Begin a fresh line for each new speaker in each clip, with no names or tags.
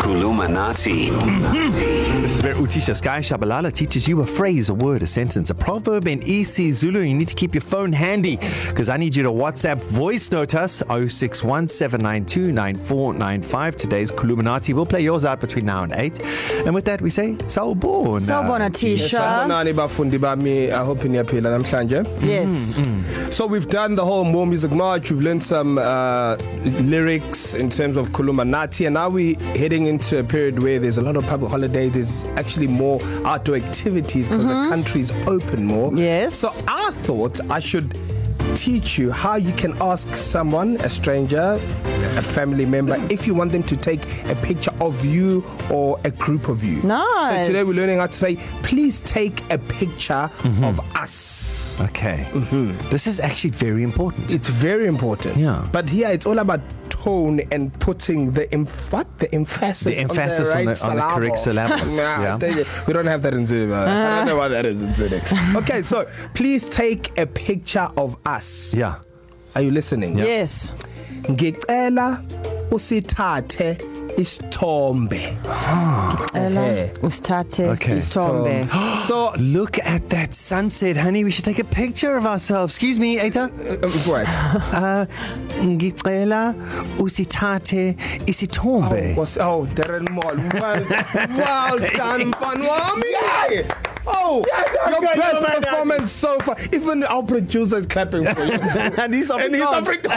Kulumanati.
This is where Utisha Sky Shabalala teaches you a phrase, a word, a sentence, a proverb in EC Zulu. You need to keep your phone handy because I need you to WhatsApp voice note us 0617929495. Today's Kuluminati. We'll play yours out between now and 8. And with that, we say, Sawubona.
Sawubona Tisha.
sanibonani bafundi bami i hope niyaphila namhlanje
Mm. Yes.
Mm-hmm. so we've done the whole more music march we've learned some uh, lyrics in terms of kulumanati and now we heading into a period where there's a lot of public holiday there's actually more outdoor activities because mm-hmm. the country's open more
Yes.
so i thought i should teach you how you can ask someone a stranger a family member if you want them to take a picture of you or a group of you
Nice.
so today we're learning how to say please take a picture mm-hmm. of us
Okay. Mm-hmm. This is actually very important.
It's very important.
Yeah.
But here it's all about tone and putting the emph- what? the emphasis
The emphasis on
on the, right
the- on the correct syllables.
nah,
Yeah.
yeah. they, we don't have that in Zulu. Uh, I don't know why that is in Zulu. okay, so please take a picture of us.
Yeah.
Are you listening?
Yes.
Ngicela usithathe isithombe.
Ella
Okay. um,
usithathe
Okay.
isithombe.
so
Oh, Look at that sunset, honey. We should take a picture of ourselves. Excuse me, Eta.
uh, what?
Uh, ngicela usithathe isithombe.
What's oh, Darren Mall. Well, well done, Banwami. Yes. Oh, yes, your
got
best
your man,
performance so far. Even our producer is clapping for you.
and he's
and he's African.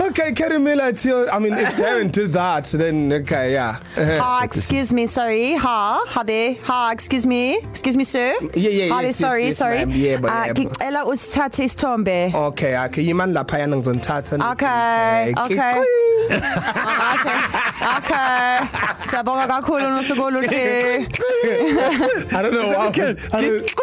okay, Kerry Miller, it's your, I mean, if Darren did that, then okay, yeah. Uh-huh.
Ha, Ah, excuse me, sorry. Ha, ha there. Ha, excuse me. Excuse me, sir.
Yeah, yeah,
ha,
yes, yes,
sorry,
yes,
sorry.
ma'am. Yeah, but-
uh,
yeah, but- Oh.
ngicela usithathe isithombe.
Okay, okay, you man laphaya ngizonithatha.
Okay, okay.
okay.
Ah, okay. Okay. Siyabonga kakhulu nosuku oluhle.
I don't know why. I don't-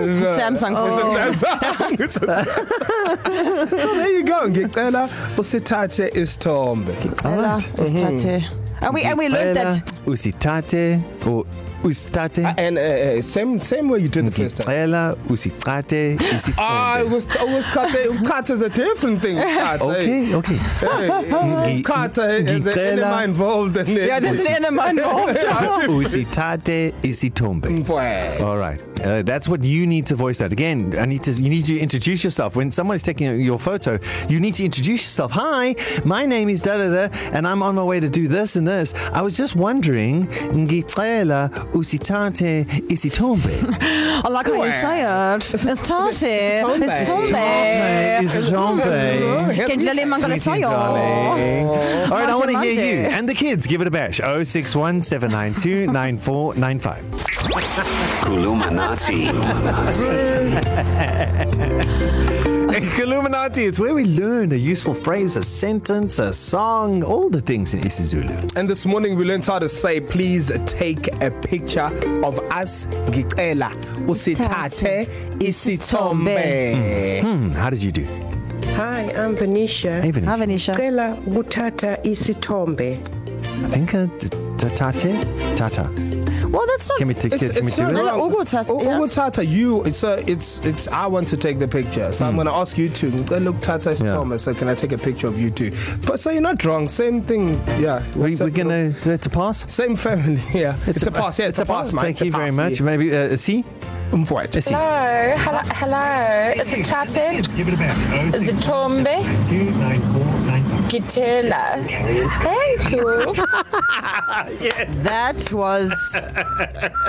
No.
Samsung phone.
It's a Samsung. It's a so there you go. Ngicela usithathe isithombe.
Ella
Mm-hmm.
usithathe. And we and we learned that
usithathe or usithathe
And uh, uh, same same way you did the first time.
ngicela usithathe
Ah, it
isithombe.
was it was cut. eh, Cut is a different thing. Cut, eh.
Okay,
Hey.
okay.
Hey,
Ngi-
cut eh, is an
ngicela-
enema involved. And yeah,
there's an enema involved.
usithathe isithombe. All right. Uh, that's what you need to voice out. Again, I need to you need to introduce yourself. When someone's taking your photo, you need to introduce yourself. Hi, my name is da da da and I'm on my way to do this and this. I was just wondering, ngicela usithathe isithombe.
I like how you say it. Isithathe. Isithombe.
Isithombe.
Ngidlale mangala
Sweetie
sayo.
darling. All right, I want to hear
Manje,
you
manje.
and the kids. Give it a bash. 061 792 9495.
Kulumanati.
Illuminati, it's where we learn a useful phrase, a sentence, a song, all the things in isiZulu.
And this morning we learned how to say, please take a picture of us. Ngicela usithathe isithombe.
Hmm, how did you do?
Hi, I'm Venetia.
Hey, Vinny.
Ha Venisha.
Cela ukuthatha isithombe.
I think uh, t- tatate? Tata.
Well, that's not
Can we, t- can, can we do
not-
it?
Lela ukuthatha,
U-
yeah.
ukuthatha you it's a, it's it's I want to take the picture so mm. I'm going to ask you to ngicela ukuthatha
Hmm. Yeah.
isithombe so can I take a picture of you too but so you're not wrong same thing yeah
We,
What's
we're
up?
going to, that's a pass.
same family yeah it's, it's a, a pass yeah it's a pass, pass.
Thank you very much. Maybe uh, a C?
Mfwet.
A C.
Hello, hello, hello. Is it Tate?
Give it a bash.
Is it Tombe?
29495.
Gitela. Thank you.
That was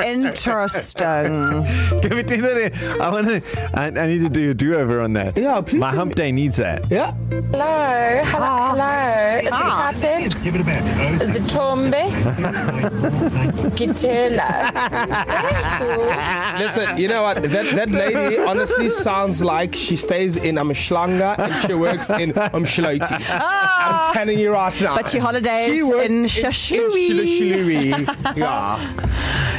interesting.
Can we do that? I want to, I, I need to do a do over on that.
Yeah, please
My
do
hump day needs that.
Yeah.
Hello, hello, hello. Is
Ah.
it Tate?
Give it a bash.
Is it Tombe?
29495.
Gitela.
Listen, you know what? That, that lady honestly sounds like she stays in Amshlanga and she works in Umshloti. I'm telling you right now.
Ah. But she holidays
work-
in Shashui.
In Shashui. Yeah.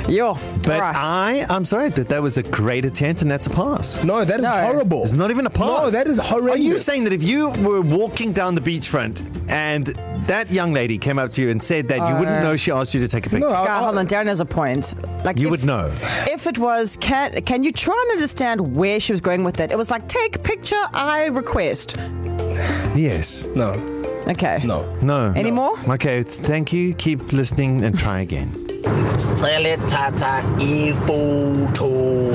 Yo,
But uh,
right.
I, I'm sorry that that was a great attempt and that's a pass.
No, that is no. horrible.
It's not even a pass.
No, that is horrendous.
Are you saying that if you were walking down the beachfront and that young lady came up to you and said that, you wouldn't know she asked you to take a picture?
Uh, No, I-
Sky, hold on. Darren has a point. Like
uh, You
if,
would know.
If it was, can can you try and understand where she was going with it? It was like, take picture, I request.
Yes.
No.
Okay.
No.
No.
Any
No.
more?
Okay, thank you. Keep listening and try again.
Tele Tata Ifuto.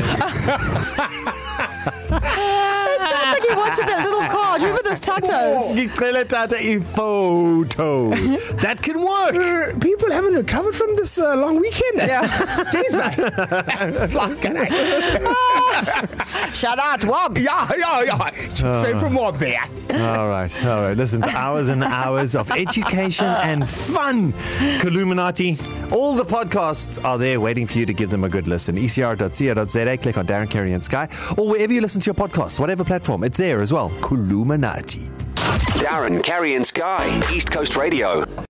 Sounds like you wanted that little car. Do you remember those
Oh.
tatas?
That can work.
People haven't recovered from this uh, long weekend.
Yeah.
Jesus. Like, can I-
Shout out, Wob.
yeah, yeah, yeah. Straight from what there.
All right, all right. Listen, to hours and hours of education and fun, Kaluminati. All the podcasts are there waiting for you to give them a good listen. E ECR.co.za, click on Darren Carey and Sky, or wherever you listen to your podcasts, whatever platform, it's there as well. Kaluminati.
Darren, Carrie, and Sky, East Coast Radio.